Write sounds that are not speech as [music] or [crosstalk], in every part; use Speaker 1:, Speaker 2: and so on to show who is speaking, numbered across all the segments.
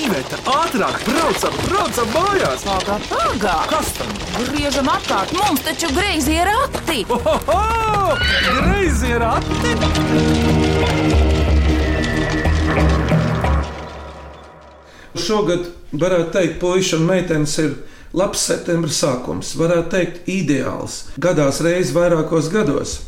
Speaker 1: Iveta, ātrāk, braucam, braucam mājās!
Speaker 2: Pagā, pagā!
Speaker 1: Kas tam?
Speaker 2: Griežam apkārt! Mums taču greizi ir rati!
Speaker 1: Ohoho! Greizi ir ati!
Speaker 3: Šogad, varētu teikt, puikas un meitenes ir labs septembris sākums. Varētu teikt, ideāls. Gadās reizes vairākos gados.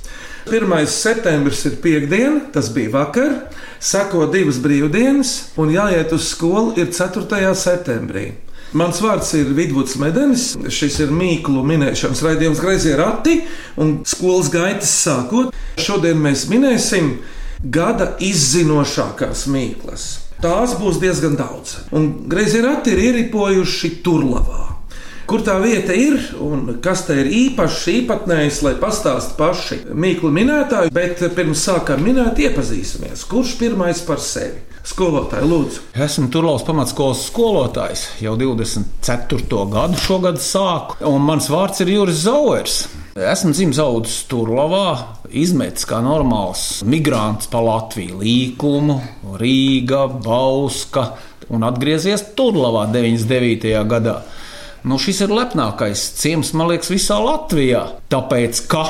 Speaker 3: 1. septembris ir piekdiena, tas bija vakar, seko divas brīvdienas, un jāiet uz skolu ir 4. septembrī. Mans vārds ir Vidvuds Medenis, šis ir mīklu minēšanas raidījums Greizie rati un skolas gaitas sākot. Šodien mēs minēsim gada izzinošākās mīklas. Tās būs diezgan daudz. Un Greizie rati ir ieripojuši Turlavā. Kur tā vieta ir un kas te ir īpašs, īpatnējs, lai pastāstītu paši mīklu minētāji, bet pirms sākam minēt, iepazīsimies, kurš pirmais par sevi. Skolotāji, lūdzu,
Speaker 4: Esmu Turlaus pamatskolas skolotājs. Jau 24. gadu šogad sāku, un mans vārds ir Juris Zauers. Esmu dzimis audzis Turlavā, izmetis kā normāls migrants pa Latviju, Līkumu, Rīga, Bauska un atgriezies Turlavā 99. gadā. Nu, šis ir lepnākais ciems, man liekas, visā Latvijā. Tāpēc, ka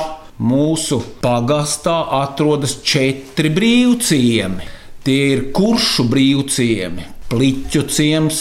Speaker 4: mūsu pagastā atrodas četri brīvciemi. Tie ir kuršu brīvciemi, pliķu ciems,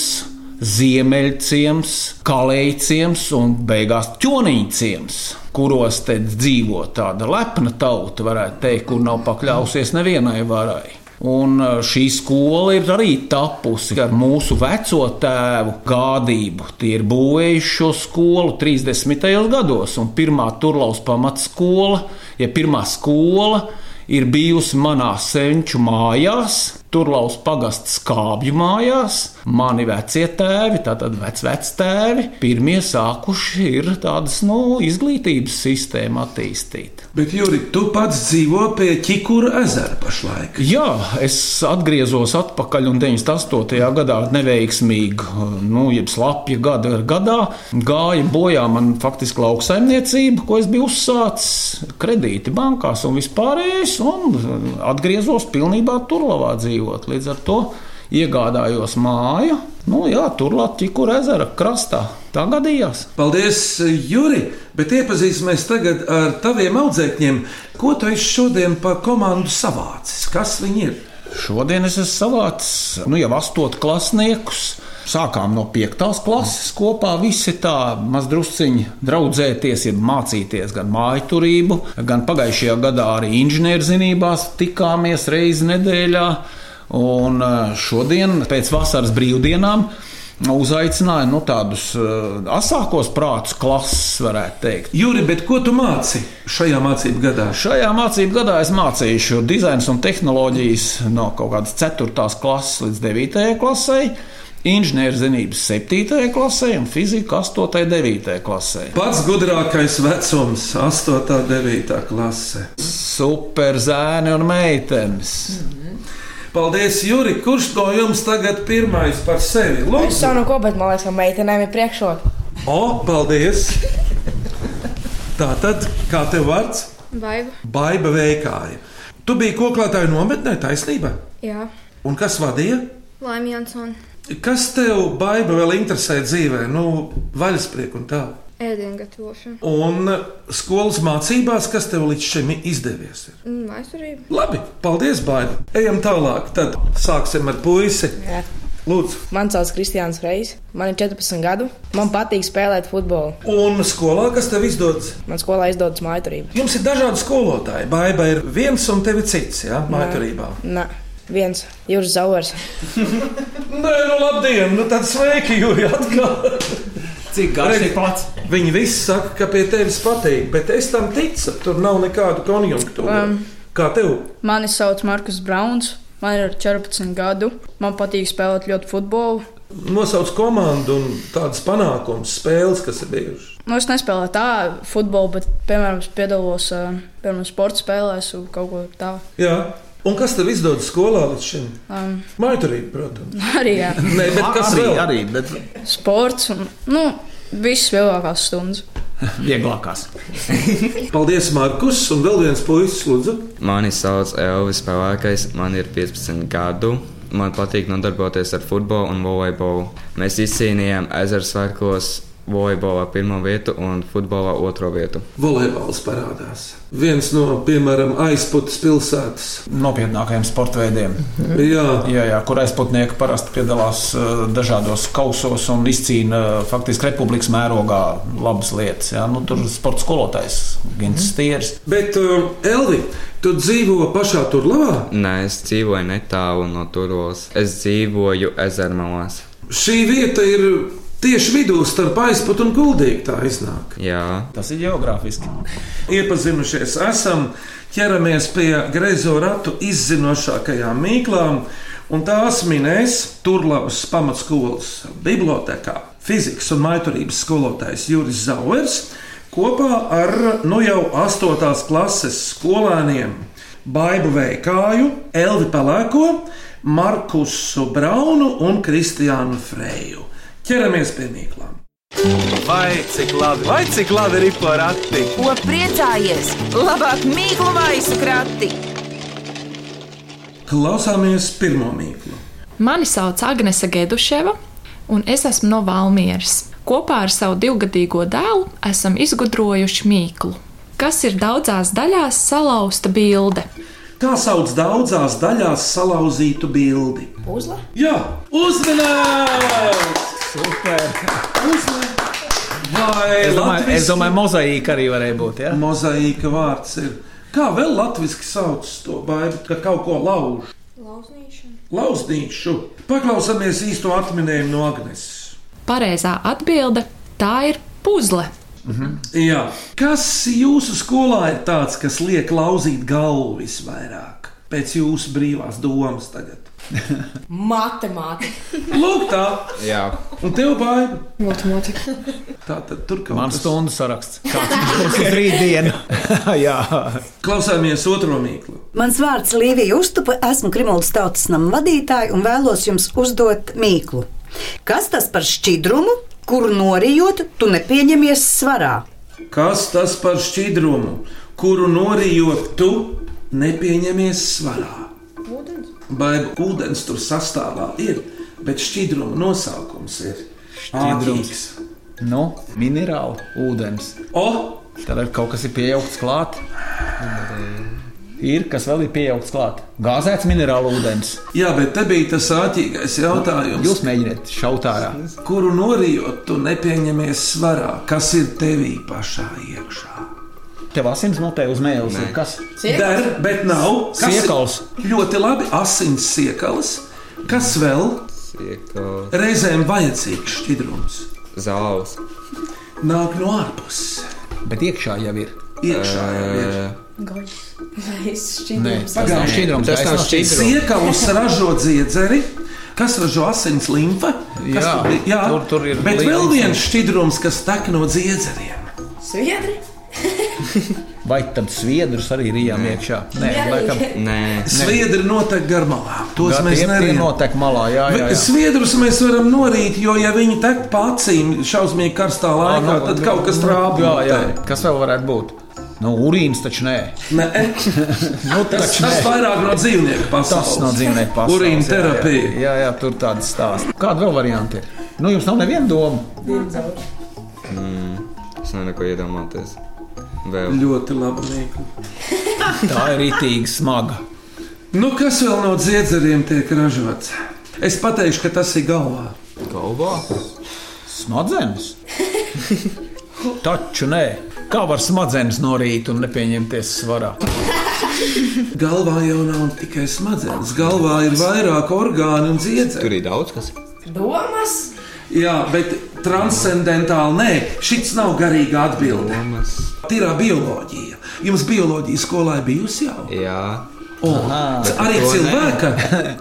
Speaker 4: ziemeļciems, kalējciems un beigās ķonīciems. Kuros te dzīvo tāda lepna tauta, varētu teikt, kur nav pakļausies nevienai varai. Un eh, šī skola ir arī tapusi ar mūsu veco tēvu gādību. Tie ir būvējuši šo skolu 30. gados, un pirmā turlaus pamatskola, ja pirmā skola ir bijusi manā senču mājās. Turlaus pagasts skābju mājās, mani vecie tēvi, tātad vecvec tēvi, pirmie sākuši ir tādas nu, izglītības sistēmu attīstīt.
Speaker 3: bet Juri, tu pats dzīvo pie Čikura ezera pašlaik.
Speaker 4: Jā, es atgriezos atpakaļ un 98. gadā neveiksmīgi, nu, jeb slapja gada gadā gāja bojā man faktiski lauksaimniecība, ko es biju uzsācis kredīti bankās un vispārējais, un atgriezos pilnībā turlavā dzīvot. Līdz ar to iegādājos māju, nu jā, turlāt ķikur ezera krastā. Tā gadījās.
Speaker 3: Paldies, Juri! Bet iepazīsimies tagad ar taviem audzēkņiem. Ko tu esi šodien par komandu savācis? Kas viņi ir?
Speaker 4: Šodien es esmu savācis nu, jau astotu klasniekus. Sākām no piektās klases kopā. Visi tā mazdrusciņi draudzēties, ir mācīties gan mājturību, gan pagājušajā gadā arī inženierzinībās tikāmies reizi nedēļā. Un eh, šodien pēc vasaras brīvdienām uzaicināja nu, tādus eh, asākos prātus klases, varētu teikt.
Speaker 3: Juri, bet ko tu māci šajā mācību gadā?
Speaker 4: Šajā mācību gadā es mācīšu dizaina un tehnoloģijas no kaut kādas 4. klases līdz 9. klasē, inženierzinības 7. klasē un fiziku 8. un 9. klasē.
Speaker 3: Pats gudrākais vecums - 8, 9 klase.
Speaker 4: Super zēni un meitenes.
Speaker 3: Paldies, Juri! Kurš no jums tagad pirmais par sevi?
Speaker 5: Es jau
Speaker 3: Lūdzu!
Speaker 5: no ko, bet man liekas, ka meitenēm ir priekšroka.
Speaker 3: O, paldies! Tā tad, kā tev vārds?
Speaker 6: Baiva.
Speaker 3: Baiba veikāja. Tu biji koklātāju nometnē, taisnība?
Speaker 6: Jā,
Speaker 3: Un kas vadīja?
Speaker 6: Laimīgs Jansons,
Speaker 3: Kas tev baida vēl interesē dzīvē, nu, vaļasprieku un tā?
Speaker 6: ēdienu gatavošana,
Speaker 3: Un skolas mācībās, kas tev līdz šim izdevies? Ir?
Speaker 6: un maisturība.
Speaker 3: Labi, paldies, baida. Ejam tālāk, tad sāksim ar puisi.
Speaker 5: Jā.
Speaker 3: Lūdzu,
Speaker 5: Man sauc Kristiāns Reis, man ir 14 gadu. Man patīk spēlēt futbolu.
Speaker 3: un skolā kas tev izdodas?
Speaker 5: Man skolā izdodas mājturība.
Speaker 3: Jums ir dažādi skolotāji. Baiba ir viens un tevi cits, jā, mājturībā.
Speaker 5: Nē, viens Juris Zauers.
Speaker 3: Nē, nu labdien, nu tad sveiki, Jūri, atkal.
Speaker 4: Cik
Speaker 3: Redzi, Viņi visi saka, ka pie tevis patīk, bet es tam ticu, tur nav nekādu konjunktūru. Um. Kā tev?
Speaker 7: Mani sauc Markus Brauns, man ir 14 gadu. Man patīk spēlēt ļoti futbolu.
Speaker 3: Nosauc komandu un tādas panākumus, spēles, kas ir bijušas.
Speaker 7: Nu, es nespēlēju tādu futbolu, bet, piemēram, es piedalos ā, piemēram, sporta spēlēs un kaut ko tādu.
Speaker 3: Jā. Un kas tev izdodas skolā līdz šim?
Speaker 7: Um,
Speaker 3: Maiturība,
Speaker 7: [laughs]
Speaker 3: protams.
Speaker 7: [laughs] arī jā.
Speaker 3: Nē, bet kas
Speaker 4: arī,
Speaker 3: vēl?
Speaker 4: arī, bet
Speaker 7: sports un nu, visas lielākās stundas.
Speaker 4: vieglākās.
Speaker 3: Paldies, Markus, un vēl viens puisis, lūdzu.
Speaker 8: Mani sauc Elvis Pelēkais, man ir 15 gadu. Man patīk nodarboties ar futbolu un volejbolu. Mēs izcīnījām ezera svētkos volejbolā pirmo vietu un futbolā otro vietu.
Speaker 3: Volejbols parādās. Viens no, piemēram, aizputes pilsētas.
Speaker 4: Nopietnākajiem sporta veidiem,
Speaker 3: Jā,
Speaker 4: jā, jā, kur aizputnieki parasti piedalās eh, dažādos kausos un izcīna eh, faktiski republikas mērogā labas lietas. Jā. Nu, tur sporta skolotājs Gins Stieris.
Speaker 3: bet um, Elvi, tu dzīvo pašā tur labā.
Speaker 8: Nē, es dzīvoju netālu no turos. Es dzīvoju ezera malās.
Speaker 3: Šī vieta ir tieši vidū starp aizputu un guldīgu tā iznāk.
Speaker 8: Jā,
Speaker 4: Tas ir geogrāfiski.
Speaker 3: Iepazinušies, esam ķeramies pie grezo ratu izzinošākajām mīklām, un tās minēs Turlavas pamatskolas bibliotekā fizikas un maiturības skolotājs Juris Zauers kopā ar nu jau 8. klases skolēniem Baibu Veikāju, Elvi Pelēko, Markusu Braunu un Kristiānu Freju. Ķeramies pie mīklām!
Speaker 1: Vai cik labi, vai cik labi ripo rati?
Speaker 2: Ko priecājies? Labāk mīklu maisu krati!
Speaker 3: Klausāmies pirmo mīklu!
Speaker 9: Mani sauc Agnese Geduševa, un es esmu no Valmieras. Kopā ar savu divgadīgo dēlu esam izgudrojuši mīklu, kas ir daudzās daļās salauzta bilde.
Speaker 3: Kā sauc daudzās daļās salauzītu bildi?
Speaker 5: Uzla?
Speaker 3: Jā, uzmanības!
Speaker 4: Super.
Speaker 3: Vai
Speaker 4: Es domāju, es
Speaker 3: latviski-
Speaker 4: domāju mozaīka arī varēja būt. Ja?
Speaker 3: mozaīka vārds ir. Kā vēl latviešu sauc to baidu, ka kaut ko lauž?
Speaker 6: Lauznīšana.
Speaker 3: Lauzdīšu. Paklausāmies īsto atminējumu no Agnes.
Speaker 9: Pareizā atbilde - tā ir puzle.
Speaker 3: Jā. Kas jūsu skolā ir tāds, kas liek lauzīt galvu visvairāk? Pēc jūsu brīvās domas tagad.
Speaker 5: Matemātika.
Speaker 3: Lūk, tā.
Speaker 8: jā.
Speaker 3: Un tev baida.
Speaker 6: Matematika.
Speaker 3: Tā tad tur kaut
Speaker 4: Man
Speaker 3: kas.
Speaker 4: stundu saraksts. [laughs] Kāds būs rītdiena? [laughs] jā.
Speaker 3: Klausāmies otro mīklu.
Speaker 10: Mans vārds ir Līvija Uztupa, esmu Krimuldas tautas nama vadītāja un vēlos jums uzdot mīklu. Kas tas par šķidrumu, kuru norijot, tu nepieņemies svarā?
Speaker 3: Kas tas par šķidrumu, kuru norijot tu nepieņemies svarā?
Speaker 6: Ūdens.
Speaker 3: Vai ūdens tur sastāvā ir, bet šķidruma nosaukums ir šķidrums.
Speaker 4: Nu, minerāli, ūdens.
Speaker 3: O,
Speaker 4: Tad ir kaut kas ir pieaugts klāt. Ir kas vēl ir pieaugts klāt. Gāzēts minerālu ūdens.
Speaker 3: jā, bet te bija tas āķīgais jautājums,
Speaker 4: Jūs mēģiniet šaut ārā.
Speaker 3: kuru norijot tu nepieņemies svarā, kas ir tevī pašā iekšā.
Speaker 4: Tev asins notē uz mēles. ir Kas?
Speaker 3: Der, bet nav Kas ir-
Speaker 4: Siekals.
Speaker 3: Ļoti labi, asins siekalis. Kas vēl
Speaker 8: Siekals,
Speaker 3: reizēm vajadzīgs šķidrums?
Speaker 8: zāles,
Speaker 3: Nāk no ārpuses.
Speaker 4: Bet iekšā jau ir.
Speaker 3: Iekšā jau ir.
Speaker 4: Nē,
Speaker 3: Pagaidi.
Speaker 4: tas šķidrums.
Speaker 8: Tas nav šķidrums.
Speaker 3: Siekavs ražo dziedzeri, kas ražo asins limfa. kas
Speaker 4: Jā,
Speaker 3: tur bija? jā.
Speaker 4: tur- tur ir
Speaker 3: Bet
Speaker 4: liela
Speaker 3: vēl
Speaker 4: izcīņa.
Speaker 3: viens šķidrums, kas tek no dziedzeriem.
Speaker 5: Sviedri?
Speaker 4: Vai tad sviedrus arī ir jām iekšā? Nē, laikam.
Speaker 8: Nē,
Speaker 3: Sviedri notek garmalā. Tos
Speaker 4: Gan
Speaker 3: mēs
Speaker 4: tie- tie
Speaker 3: nevaram.
Speaker 4: notek malā. Jā, jā, jā.
Speaker 3: Sviedrus mēs varam norīt, jo, ja viņi tek pa acīm šausmīgi karstā laikā,
Speaker 4: nu,
Speaker 3: tad
Speaker 4: nu,
Speaker 3: kaut kas
Speaker 4: nu,
Speaker 3: trāpīja.
Speaker 4: Jā, jā. Kas vēl varētu būt? Nu, urīns taču nē.
Speaker 3: e?
Speaker 4: Nu,
Speaker 3: Tas,
Speaker 4: taču
Speaker 3: tas
Speaker 4: nē.
Speaker 3: vairāk no dzīvnieku pasaules.
Speaker 4: Tas nav dzīvnieku pasaules.
Speaker 3: Urīna
Speaker 4: jā,
Speaker 3: terapija.
Speaker 4: Jā, jā, jā tur tādas stāsti. Kāda vēl varianta ir? Nu, jums nav neviena doma.
Speaker 8: es nevaru neko iedomāties. Vēl
Speaker 3: Ļoti labi. Mīkli.
Speaker 4: Tā ir itīgi smaga.
Speaker 3: Nu, kas vēl no dziedzeriem tiek ražots? Es pateikšu, ka tas ir galvā.
Speaker 8: galvā?
Speaker 4: Smadzenes? Taču nē. Kā var smadzenes norīt un nepieņemties svarā?
Speaker 3: Galvā jau nav tikai smadzenes. Galvā ir vairāk orgānu un dziedzera.
Speaker 8: Tur ir daudz kas.
Speaker 5: Domas?
Speaker 3: Jā, bet transcendentāli nē, šis nav garīga atbilde.
Speaker 8: Domas.
Speaker 3: Tīrā bioloģija. Jums bioloģija skolā ir bijusi jau?
Speaker 8: Jā,
Speaker 3: O, arī
Speaker 8: to
Speaker 4: [laughs]
Speaker 3: cilvēka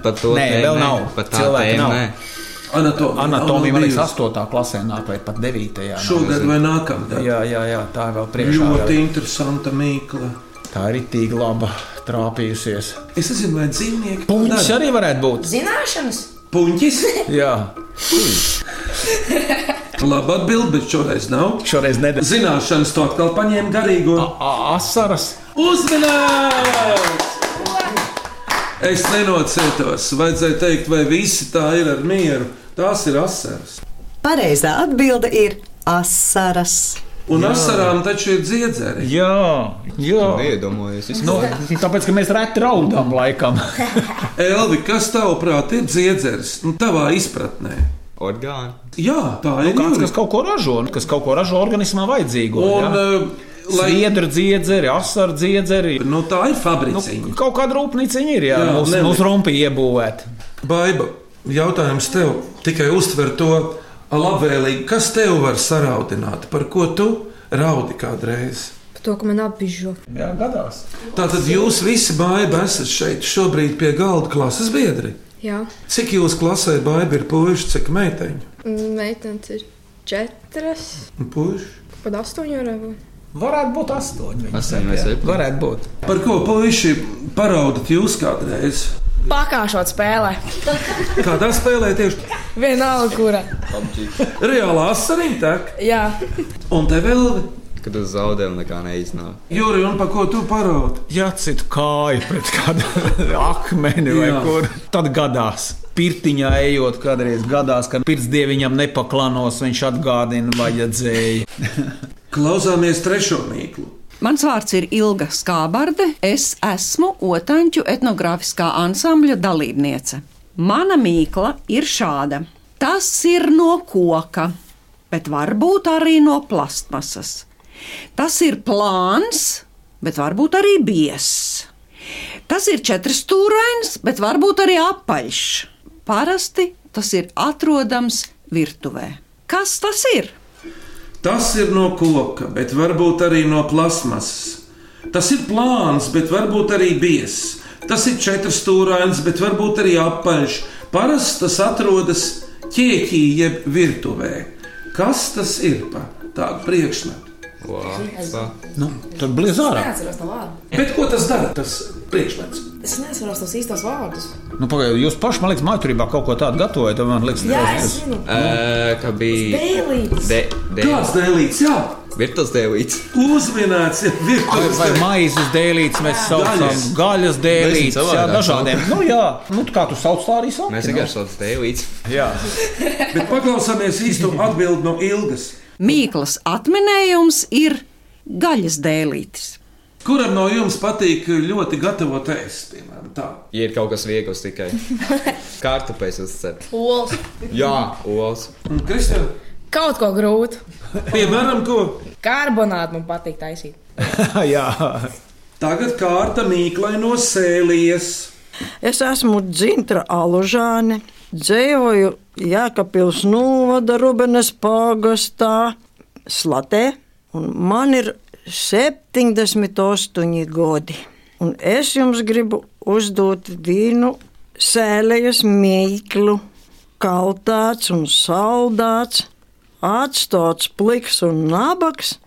Speaker 8: pat to
Speaker 4: Nē,
Speaker 8: tēmu
Speaker 4: vēl
Speaker 8: nē.
Speaker 4: nav.
Speaker 8: Pat tā
Speaker 4: Cilvēka
Speaker 8: tēma
Speaker 4: nav.
Speaker 8: nē.
Speaker 3: anatomija.
Speaker 4: Anatomija man liekas,
Speaker 3: bijusi.
Speaker 4: 8. klasē nāk vai pat 9.
Speaker 3: Šogad vai nākamgad.
Speaker 4: Jā, jā, jā, tā ir vēl priekšā.
Speaker 3: Ļoti interesanta mīkla.
Speaker 4: Tā ir itīgi laba trāpījusies.
Speaker 3: Es nezinu, vai dzīvnieki to
Speaker 4: Puņķis
Speaker 3: dara.
Speaker 4: arī varētu būt.
Speaker 5: Zināšanas?
Speaker 3: Puņķis.
Speaker 4: Jā,
Speaker 3: Labi atbild, bet šoreiz nav.
Speaker 4: šoreiz nedēļas.
Speaker 3: Zināšanas to atkal
Speaker 4: Ah.
Speaker 3: paņēma garīgo.
Speaker 4: Asaras.
Speaker 3: Uzmanības! Es nenocietos. Vajadzēja teikt, vai visi tā ir ar mieru. Tās ir asaras.
Speaker 10: Pareizā atbilde ir asaras.
Speaker 3: Un asarām taču ir dziedzeri.
Speaker 4: Jā, jā.
Speaker 8: Iedomājos,
Speaker 4: Nu, tāpēc, ka mēs reti raudām laikam.
Speaker 3: Elvi, kas tavuprāt ir dziedzers? Nu, tavā izpratnē.
Speaker 8: Nu. orgāni.
Speaker 3: Jā, tā ir
Speaker 4: Nu, Kāds,
Speaker 3: jūra.
Speaker 4: kas kaut ko ražo, kas kaut ko ražo organismā vajadzīgo.
Speaker 3: Un,
Speaker 4: jā.
Speaker 3: eh, lai,
Speaker 4: Sviedru dziedzeri, asaru dziedzeri.
Speaker 3: nu, tā ir
Speaker 4: Nu,
Speaker 3: fabriciņa.
Speaker 4: kaut kāda rūpnīciņa ir, jā,
Speaker 3: Jā,
Speaker 4: jā mūsu
Speaker 3: Leli.
Speaker 4: mūs rumpī iebūvēta.
Speaker 3: Baiba, jautājums tev tikai uztver to labvēlīgi. Kas tev var saraudināt, par ko tu raudi kādreiz?
Speaker 6: Par to, ka man apbižo.
Speaker 4: Jā, gadās.
Speaker 3: Tātad jūs visi baiba esat šeit šobrīd pie galda klases biedri.
Speaker 6: Jā,
Speaker 3: Cik jūs klasē baiba ir puiši, cik meiteņu?
Speaker 6: meitenes ir četras,
Speaker 3: Un Puiši.
Speaker 6: pat astoņi ar avu.
Speaker 4: Varētu būt astoņi. viņi
Speaker 8: Astoņi
Speaker 4: saka,
Speaker 8: vai
Speaker 4: jā.
Speaker 8: septiņi.
Speaker 4: Varētu būt.
Speaker 3: Par ko puiši paraudat jūs kādreiz?
Speaker 7: Pakāšot spēlē.
Speaker 3: Kādā spēlē tieši
Speaker 7: Vienalga, kura.
Speaker 3: reālā asarīte?
Speaker 7: Jā,
Speaker 3: Un te vēl
Speaker 8: Kad uz zaudējumu nekā neiznāk.
Speaker 3: Juri, un par ko tu paraudi?
Speaker 4: Jācīt kāju pret kādu [laughs] akmeni vai
Speaker 3: Jā.
Speaker 4: kur. Tad gadās. Pirtiņā ejot, kādreiz gadās, ka pirts dieviņam nepaklanos, viņš atgādina vajadzēja.
Speaker 3: Klausāmies trešo mīklu.
Speaker 11: Mans vārds ir Ilga Skābarde. Es esmu Otāņu etnogrāfiskā ansambļa dalībniece. Mana mīkla ir šāda. Tas ir no koka, bet varbūt arī no plastmasas. Tas ir plāns, bet varbūt arī biezs. Tas ir četrstūrains, bet varbūt arī apaļš. Parasti tas ir atrodams virtuvē. Kas tas ir?
Speaker 3: Tas ir no koka, bet varbūt arī no plasmasas. Tas ir plāns, bet varbūt arī biezs. Tas ir četrstūrains, bet varbūt arī apaļš. Parasti tas atrodas ķēķī, jeb virtuvē. Kas tas ir pa tādu priekšmetu?
Speaker 8: Wow.
Speaker 4: Nu, tad blīz ārā.
Speaker 5: Neatceros to vārdu.
Speaker 3: Bet ko tas dara? Tas priekšmets.
Speaker 5: Es neatceros tos īstos vārdus.
Speaker 4: Nu, pagaidu, jūs paši, man liekas, mājaturībā kaut ko tādu gatavojat. tad Man liekas, tas
Speaker 5: zinu.
Speaker 3: Eh,
Speaker 8: Ē, Kā Eh, bija?
Speaker 5: Dēlīts.
Speaker 8: De, de,
Speaker 3: Kāds dēlīts, jā,
Speaker 8: Virtuāls dēlīts.
Speaker 3: uzminēts, ja virtuves
Speaker 4: Vai
Speaker 3: dēlīts.
Speaker 4: maizes dēlītes mēs saucam,
Speaker 3: Gaļas.
Speaker 4: gaļas dēlītes,
Speaker 8: Nezinu,
Speaker 4: jā,
Speaker 8: savādāk
Speaker 4: dažādiem. Nu, jā, nu, kā tu sauc, tā arī sauc.
Speaker 8: Mēs vienkārši saucam dēlīts.
Speaker 4: Jā,
Speaker 3: Bet paklausāmies īsto atbildi no ilgas.
Speaker 11: Mīklas atminējums ir gaļas dēlītis.
Speaker 3: Kuram no jums patīk ļoti gatavot ēst, piemēram, tā?
Speaker 8: Ja ir kaut kas viegls tikai. Kārtupēs uzcep.
Speaker 7: olas.
Speaker 8: Jā, olas.
Speaker 3: Un Kristēna?
Speaker 7: Kaut ko grūtu.
Speaker 3: Piemēram, ko?
Speaker 7: Karbonāti man patīk taisīt.
Speaker 4: [laughs] jā.
Speaker 3: Tagad kārta mīklai no sēlies.
Speaker 11: Es esmu Dzintra Alužāne, dzīvoju Jēkabpils novada Rubenes pagastā, Slatē, un man ir 78 godi. Un es jums gribu uzdot vienu sēlejas mīklu, kaltāts un saldāts, atstāts pliks un nabaks,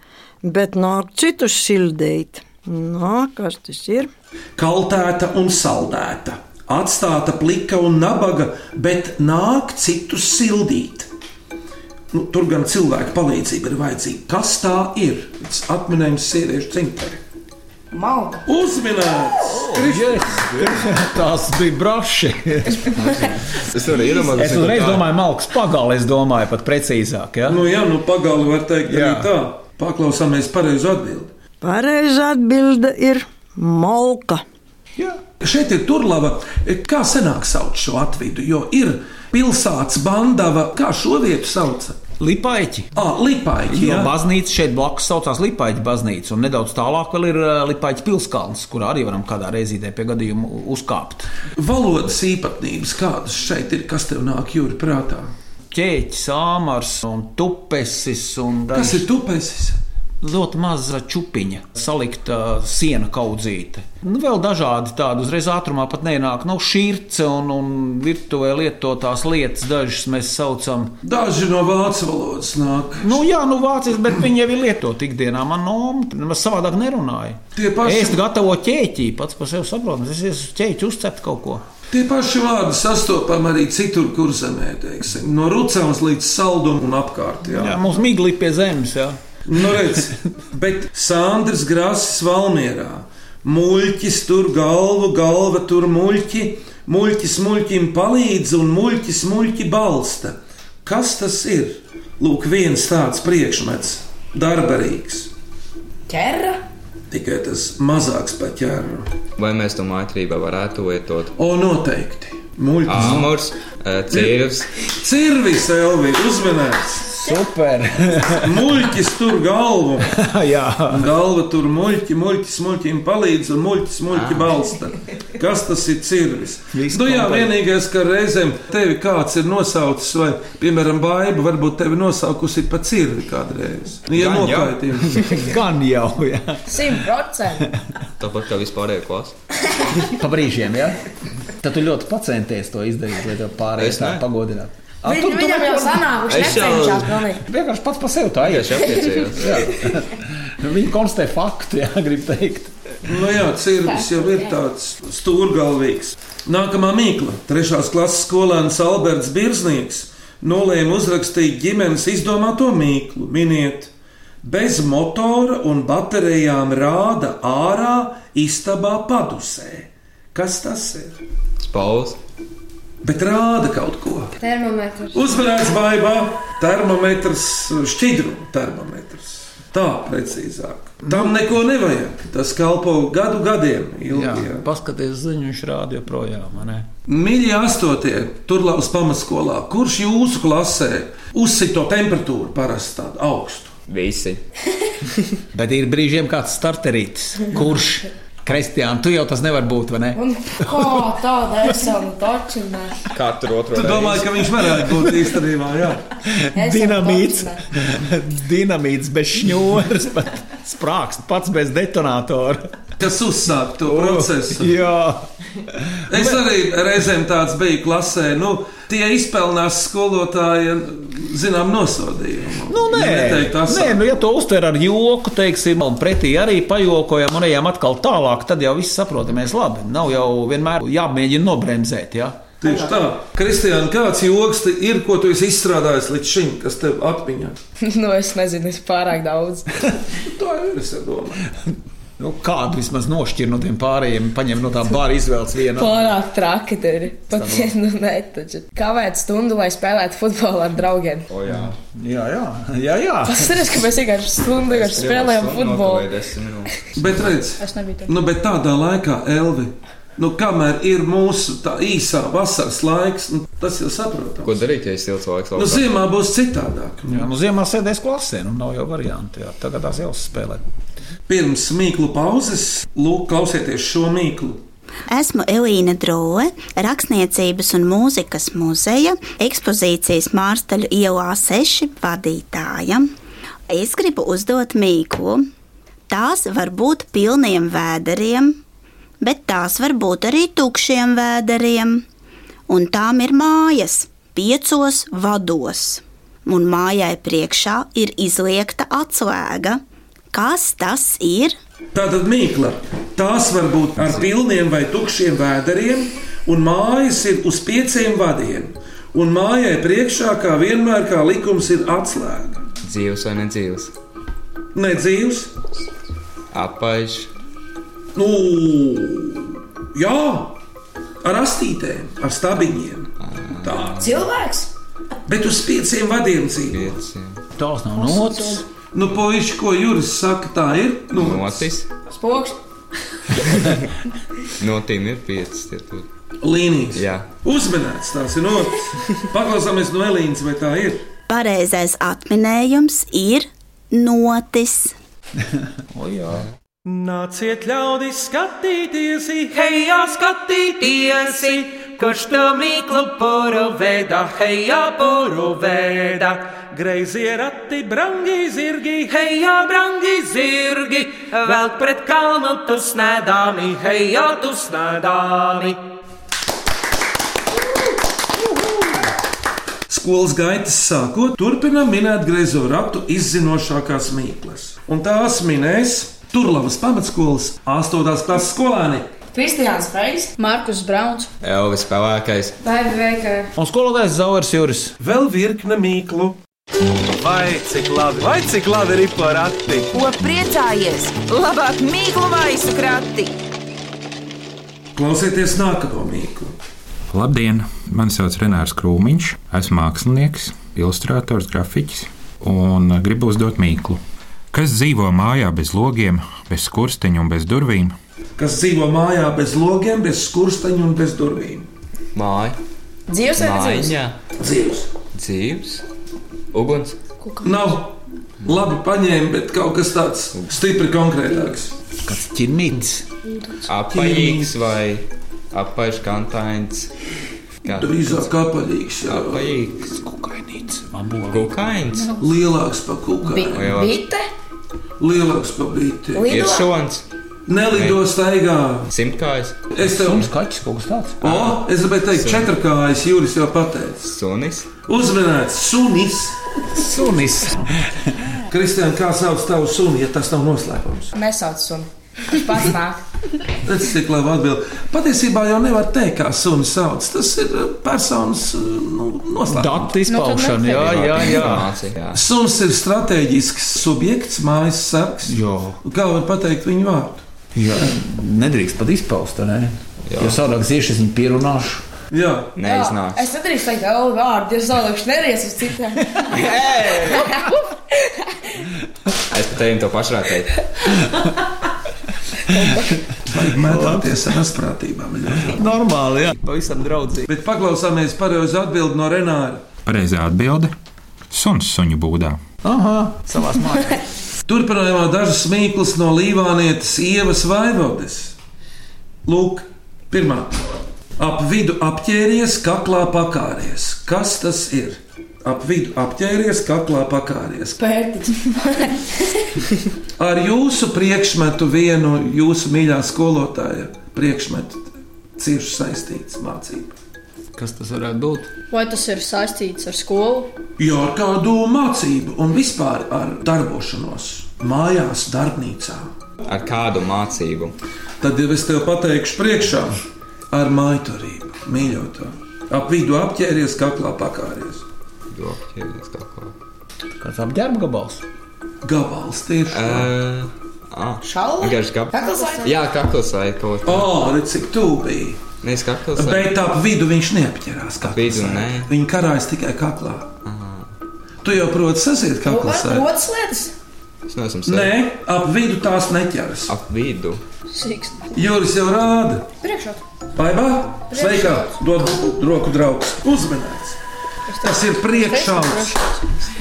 Speaker 11: bet nāk citus sildīt. Nā, kas tas ir?
Speaker 3: Kaltēta un saldēta, atstāta plika un nabaga, bet nāk citus sildīt. Nu, tur gan cilvēka palīdzība ir vajadzīga. Kas tā ir? Tas atminējums sieviešu cimtari.
Speaker 2: Malta.
Speaker 3: Uzminēts!
Speaker 4: Oh, [laughs] Tas bija braši.
Speaker 8: Es varu iedomāties,
Speaker 4: Es uzreiz domāju, Malks, pagāli, es domāju, pat precīzāk. Ja?
Speaker 3: Nu, jā, nu pagaili var teikt, arī
Speaker 4: Jā.
Speaker 3: tā. Paklausāmies pareizo atbildi.
Speaker 11: Pareizā atbilde ir malka.
Speaker 3: Šeit ir turlava, kā senāk sauc šo atvidu, jo ir pilsētas bandava, kā šo vietu sauc.
Speaker 4: Lipaiķi.
Speaker 3: Ah, Lipāņi.
Speaker 4: Jo baznīca šeit blakus saucās Lipāņu baznīca, un nedaudz tālāk vēl ir Lipāņu pilskalns, kur arī varam kādā reizītē pie gadījuma uzkāpt.
Speaker 3: Valodas īpatnības, kādas šeit ir, kas tev nāk jūri prātā?
Speaker 4: Ķēķis, āmars un tupesis un
Speaker 3: Kas
Speaker 4: daži-
Speaker 3: ir tupesis?
Speaker 4: ļoti maza čūpiņa, salikta eh, siena kaudzīte. Nu, vēl dažādi tādi uzreiz ātrumā pat nenāk. Nu, šīrce un, un virtuvē lietotās lietas, dažas mēs saucam
Speaker 3: Daži no vācu valodas nāk.
Speaker 4: Nu, jā, nu, vācis, bet viņi jau ir lietoti ikdienā. Man nomā savādāk nerunāja.
Speaker 3: Tie paši-
Speaker 4: Es gatavoju ķēķi, pats par sevi saprotu. Es esmu ķēķis uzcept kaut ko.
Speaker 3: Tie paši vārdi sastopami arī citur, kur zemē, teiksim, no rucēnas līdz saldumam un apkārt. Jā.
Speaker 4: Jā, mums migli pie zemes. Jā.
Speaker 3: Nu, redz, bet Sandrs Grāsis Valmjerā muļķis tur galvu, galva tur muļķi, muļķis muļķim palīdz un muļķis muļķi balsta. Kas tas ir? Lūk, viens tāds priekšmets, darbarīgs,
Speaker 5: Ķerra?
Speaker 3: tikai tas mazāks par ķēru.
Speaker 8: Vai mēs to mātrībā varētu lietot? eh,
Speaker 3: O, noteikti! Muļķis.
Speaker 8: Āmurs, cīvs.
Speaker 3: Cirvis, Elvi, uzmanīgs!
Speaker 4: Super!
Speaker 3: Muļķis tur galvu!
Speaker 4: [laughs] Jā,
Speaker 3: Galva tur muļķi, muļķi, smuļķiem palīdz un muļķi, smuļķi balsta. Kas tas ir cirvis?
Speaker 4: Viss
Speaker 3: Nu jā,
Speaker 4: komplektā.
Speaker 3: vienīgais, ka reizēm tevi kāds ir nosaucis, vai, piemēram, baiba, varbūt tevi nosaukusi par cirvi kādreiz. Nu, Ja
Speaker 8: Gan jau.
Speaker 3: nokaitījums.
Speaker 4: gan jau. Jā.
Speaker 5: Simt procenti.
Speaker 8: Tāpat kā vispārējā klasa.
Speaker 4: Pa brīžiem, jā. Tad tu ļoti pacenties to izdarīt, lai tev pārējais
Speaker 8: Es
Speaker 4: tā
Speaker 8: ne.
Speaker 4: pagodinātu. Ā,
Speaker 5: Viņ, viņam jau sanāk, viņš
Speaker 8: Es jau-
Speaker 5: necenšas pilnīgi.
Speaker 4: vienkārši pats par sevi tā ir.
Speaker 8: Tieši aptiecējos.
Speaker 4: Jā. Viņi konstatē faktu, jā, [laughs] grib teikt.
Speaker 3: Nu jā, cirvis jau ir tāds stūrgalvīgs. Nākamā mīkla. Trešās klases skolēns Alberts Birznieks nolēma uzrakstīt ģimenes izdomāto mīklu. Miniet, bez motora un baterijām rāda ārā istabā padusē. Kas tas ir?
Speaker 8: Spauls.
Speaker 3: Bet rāda kaut ko.
Speaker 6: Termometrs.
Speaker 3: Uzmanīgs baigā termometrs, šķidrumu termometrs. Tā precīzāk. Tam neko nevajag. Tas kalpo gadu gadiem
Speaker 4: Jā,
Speaker 3: ilgi. Jā.
Speaker 4: paskaties ziņu, viņš rāda joprojām. vai ne?
Speaker 3: Mīļie astotie, turlauks pamatskolā, kurš jūsu klasē uzsita to temperatūru parasti tādu augstu?
Speaker 8: Visi.
Speaker 4: Bet ir brīžiem kāds starterītis, kurš Kristiāna, tu jau tas nevar būt, vai ne?
Speaker 5: Un kā tāda esam točinā?
Speaker 8: Katru otro.
Speaker 3: Tu domā, ka viņš varētu [laughs] būt īstenībā, jā.
Speaker 4: Dinamīts, [laughs] dinamīts bez šņūras, pat sprākst pats bez detonatora.
Speaker 3: Kas uzsāk to procesu?
Speaker 4: Jā,
Speaker 3: Es arī reizēm tāds biju klasē. Nu, tie izpelnās skolotāji, zinām, nosodījumu.
Speaker 4: nu nē,
Speaker 3: tas
Speaker 4: nē nu, ja to uztver ar joku, teiksim, un pretī arī pajokojam un ejam atkal tālāk, tad jau viss saprotamies labi. Nav jau vienmēr jāmēģina nobremzēt. Jā.
Speaker 3: Tieši tā, Kristiāna, kāds joks te ir, ko tu esi izstrādājis līdz šim, kas tev atmiņā?
Speaker 7: [laughs] nu, es nezinu, es pārāk daudz.
Speaker 3: Nu, Tā ir, es domāju.
Speaker 4: Nu, kādu vismaz nošķir no tiem pārējiem, paņem no tā bāra izvēles vienu.
Speaker 7: Pārāk traki tur ir. Pat, nu, nē, taču. Kavēt stundu, lai spēlētu futbolu ar draugiem.
Speaker 8: O, jā.
Speaker 4: Jā, jā, jā. jā.
Speaker 7: Tas ir, ka mēs vienkārši stundu garš spēlējām futbolu.
Speaker 3: Bet redz,
Speaker 7: Es nebiju tur.
Speaker 3: nu, bet tādā laikā, Elvi, nu, kamēr ir mūsu tā īsā vasaras laiks, nu, tas jau saprotams.
Speaker 8: Ko darīt, ja ir silts laiks?
Speaker 3: Nu, ziemā būs citādāk.
Speaker 4: Jā, nu, ziemā sēdēs klasē, nu nav jau variantu. Jā. Tagad tās jau spēlē.
Speaker 3: Pirms mīklu pauzes, lūk, klausieties šo mīklu.
Speaker 12: Esmu Elīna Drūle, rakstniecības un mūzikas muzeja ekspozīcijas Mārstaļu ielā 6 vadītāja. Es gribu uzdot mīklu. Tās var būt pilniem vēderiem, bet tās var būt arī tukšiem vēderiem. Un tām ir mājas, piecos vados. Un mājai priekšā ir izliekta atslēga. Kas tas ir?
Speaker 3: Tātad mīkla. Tās var būt ar pilniem vai tukšiem vēderiem, un mājas ir uz pieciem vadiem. Un mājai priekšā, kā vienmēr, kā likums, ir atslēga.
Speaker 8: Dzīves vai nedzīves?
Speaker 3: Nē, dzīves.
Speaker 8: Apaiš.
Speaker 3: Nu, jā, ar astītēm, ar stabiņiem. Tā.
Speaker 5: Cilvēks?
Speaker 3: Bet uz pieciem vadiem dzīvo.
Speaker 8: Pieciem.
Speaker 4: Tās nav notis.
Speaker 3: Nu, puiši, ko Juris saka, tā ir. Nu,
Speaker 8: Notis.
Speaker 5: Spoks?
Speaker 8: Notīm ir piecas. tie tur.
Speaker 3: līnijas.
Speaker 8: Jā.
Speaker 3: Uzmanīts tās ir notis. Paklausāmies no Elīnas, vai tā ir.
Speaker 12: Pareizais atminējums ir notis.
Speaker 4: O, jā.
Speaker 1: Nāciet, ļaudis, skatīties, hejā, skatīties, kurš to mīklu poroveda, hejā, poroveda. Greizie rati, brangi zirgi, hejā, brangi zirgi, vēl pret kalnu tu snēdāmi, hejā, tu snēdāmi.
Speaker 3: Skolas gaitas sākot, turpinām minēt griezo ratu izzinošākās mīklas. Un tās minēs Turlavas pamatskolas 8. klases skolēni.
Speaker 5: Kristiāns Freis?
Speaker 7: Markus Brauns.
Speaker 8: Elvis pelēkais.
Speaker 6: Vai veikā?
Speaker 4: Un skolotājs Zauers Juris.
Speaker 1: Vēl virkne mīklu. Vai cik labi, vai cik labi ir porakti?
Speaker 2: Ko priecājies? Labāk mīklu maisu krati!
Speaker 3: Klausieties nākamo mīklu.
Speaker 13: Labdien! Mani sauc Renārs Krūmiņš, esmu mākslinieks, ilustrātors, grafiķis un gribu uzdot mīklu. Kas dzīvo mājā bez logiem, bez skursteņa un bez durvīm?
Speaker 3: Kas dzīvo mājā bez logiem, bez skursteņa un bez durvīm?
Speaker 8: Māja.
Speaker 5: Dzīves vai nedzīves?
Speaker 3: Dzīves.
Speaker 8: Dzīves. Uguns.
Speaker 3: Nav labi paņēma, bet kaut kas tāds stipri konkrētāks.
Speaker 4: Kāds ķirmītis?
Speaker 8: Apaļīgs vai apaļškantains.
Speaker 3: Drīzāk apaļīgs.
Speaker 8: Apaļīgs.
Speaker 4: Kukainīts. Abola.
Speaker 8: Kukains.
Speaker 3: Nu, Lielāks par kukaiņu.
Speaker 8: Bi- Lielāks. bite?
Speaker 3: Lielāks par bīti.
Speaker 8: Lido? Ir šons.
Speaker 3: Nelido staigā.
Speaker 8: Simtkājs.
Speaker 3: Es tev
Speaker 4: Suns, kaķis, kaut kas tāds.
Speaker 3: O, es gribēju teikt,
Speaker 8: Suns.
Speaker 3: četrkājas jūras jau pateicis.
Speaker 8: Sunis.
Speaker 3: Uzminēts sunis.
Speaker 4: Sunis.
Speaker 3: Kristija, kā sauc tavu sunu, ja tas nav noslēpums?
Speaker 5: Nesauc sunu. Viņš pats nāk.
Speaker 3: Tas ir labi atbild. Patiesībā jau nevar teikt, kā sunis sauc. Tas ir eh, personas eh, nu, noslēpums.
Speaker 4: Datu
Speaker 5: Nu,
Speaker 4: izpaušana, jā, jā, jā.
Speaker 3: Suns ir strateģisks subjekts, mājas sargs. Kā var pateikt viņu vārdu?
Speaker 4: jā. Nedrīkst pat izpaust, ne?
Speaker 8: Jā.
Speaker 4: Jo savādāk zieši es viņu pierunāšu.
Speaker 3: Jā.
Speaker 8: Neiznāk.
Speaker 5: Es nedrīkstu teikt, oh, vārdu, es zaudēšu neries uz citiem. [laughs]
Speaker 8: Es pat tevi to pašrākēju.
Speaker 3: Vajag mētāties ar asprātībām.
Speaker 4: Normāli, jā. Pavisam draudzīgi.
Speaker 3: Bet paklausāmies pareizi atbildi no Renāra.
Speaker 13: Pareizā atbilde - suns suņu būdā.
Speaker 4: Aha, savās mājās.
Speaker 3: Turpinājumā dažas mīklas no Līvānietes ievas vaivodes. Lūk, pirmā. Ap vidu apģēries, kaklā pakāries. Kas tas ir? Ap vidu apģēries, kaklā pakāries.
Speaker 5: Pērtiķis.
Speaker 3: Ar jūsu priekšmetu, vienu jūsu mīļā skolotāja priekšmetu, cieši saistīts mācība.
Speaker 4: Kas tas varētu būt?
Speaker 7: Vai tas ir saistīts ar skolu?
Speaker 3: Jo ar kādu mācību un vispār ar darbošanos mājās, darbnīcā.
Speaker 8: Ar kādu mācību?
Speaker 3: Tad jau es tev pateikšu, priekšā ar maiturību, mīļotā. Ap vidu apģēries, kaklā pakāries.
Speaker 8: Ķēries kaut ko.
Speaker 4: Kāds apģērba gabals?
Speaker 3: Gabals tieši.
Speaker 8: Ā, ā. Vienkārši kā-
Speaker 3: Kakls vai?
Speaker 8: Jā, kakls vai kaut kas
Speaker 3: O, redz, cik tuvu bija.
Speaker 8: Nevis kakls vai
Speaker 3: Bet ap vidu viņš neapķērās.
Speaker 8: Ap vidu, nē.
Speaker 3: Viņa karājas tikai kaklā. Tu jau proti sasiet kaklā sēdi.
Speaker 5: Otrs lietas.
Speaker 8: Es neesmu
Speaker 3: Nē, ap vidu tās neķeras.
Speaker 8: Ap vidu.
Speaker 3: Jūris jau rāda.
Speaker 5: Priekšā.
Speaker 3: Paibā, sveikā, dod roku draugs. Uzmanīgs. Tas ir priekšaugs.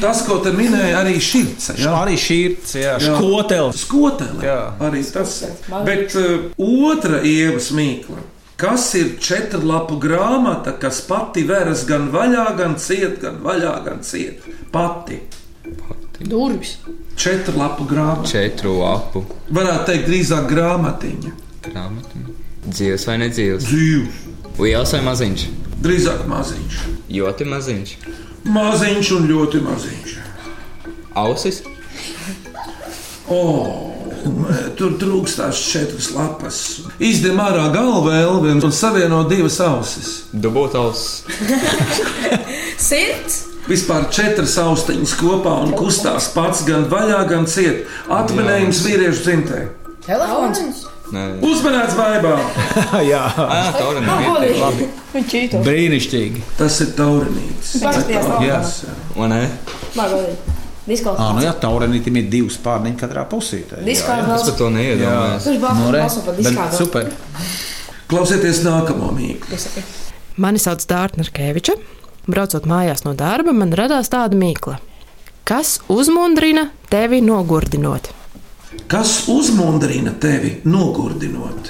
Speaker 3: Tas, ko te minēja, arī šis ir.
Speaker 4: Arī šī ir
Speaker 3: Skotele. Skotele. Arī tas ir. Bet uh, otra ievas mīkla. Kas ir četru lapu grāmata, kas pati veras gan vaļā, gan ciet, gan vaļā, gan ciet? Pati.
Speaker 7: Durvis.
Speaker 3: Četru lapu grāmata.
Speaker 8: Četru lapu
Speaker 3: Varētu teikt, drīzāk grāmatiņa.
Speaker 8: grāmatu. Dzīves vai nedzīves?
Speaker 3: Dzīves.
Speaker 8: Liels vai maziņš?
Speaker 3: Drīzāk maziņš.
Speaker 8: Ļoti maziņš.
Speaker 3: Maziņš un ļoti maziņš.
Speaker 8: Ausis?
Speaker 3: Oh, tur trūkstās četras lapas. Izdem ārā galvu vēl un savieno divas ausis.
Speaker 8: Dabūt ausis.
Speaker 5: Sirds.
Speaker 3: Vispār četras austiņas kopā un kustās pats gan vaļā, gan ciet. Atminējums vīriešu dzimtē.
Speaker 5: Telefons.
Speaker 3: Uzmanīts baigā!
Speaker 4: [laughs] Jā,
Speaker 5: Labi. Viņš čīto.
Speaker 4: Brīnišķīgi.
Speaker 3: Tas ir taurinīts.
Speaker 5: Paskaties,
Speaker 4: Jā,
Speaker 8: vai ne?
Speaker 5: Labi.
Speaker 4: Ā, nu
Speaker 5: Diskolā.
Speaker 4: jā, taurenītam ir divas pārniņas katrā pusē. Nu,
Speaker 5: Diskā vēl- Es par to neiedomājos. Viņš balso- balso par diskā vēl.
Speaker 4: Super.
Speaker 3: Klausieties nākamo mīklu.
Speaker 14: Mani sauc Dārta Kreviča. Braucot mājās no darba, man radās tāda mīkla. Kas uzmundrina tevi nogurdinot?
Speaker 3: Kas uzmundrina tevi nogurdinot?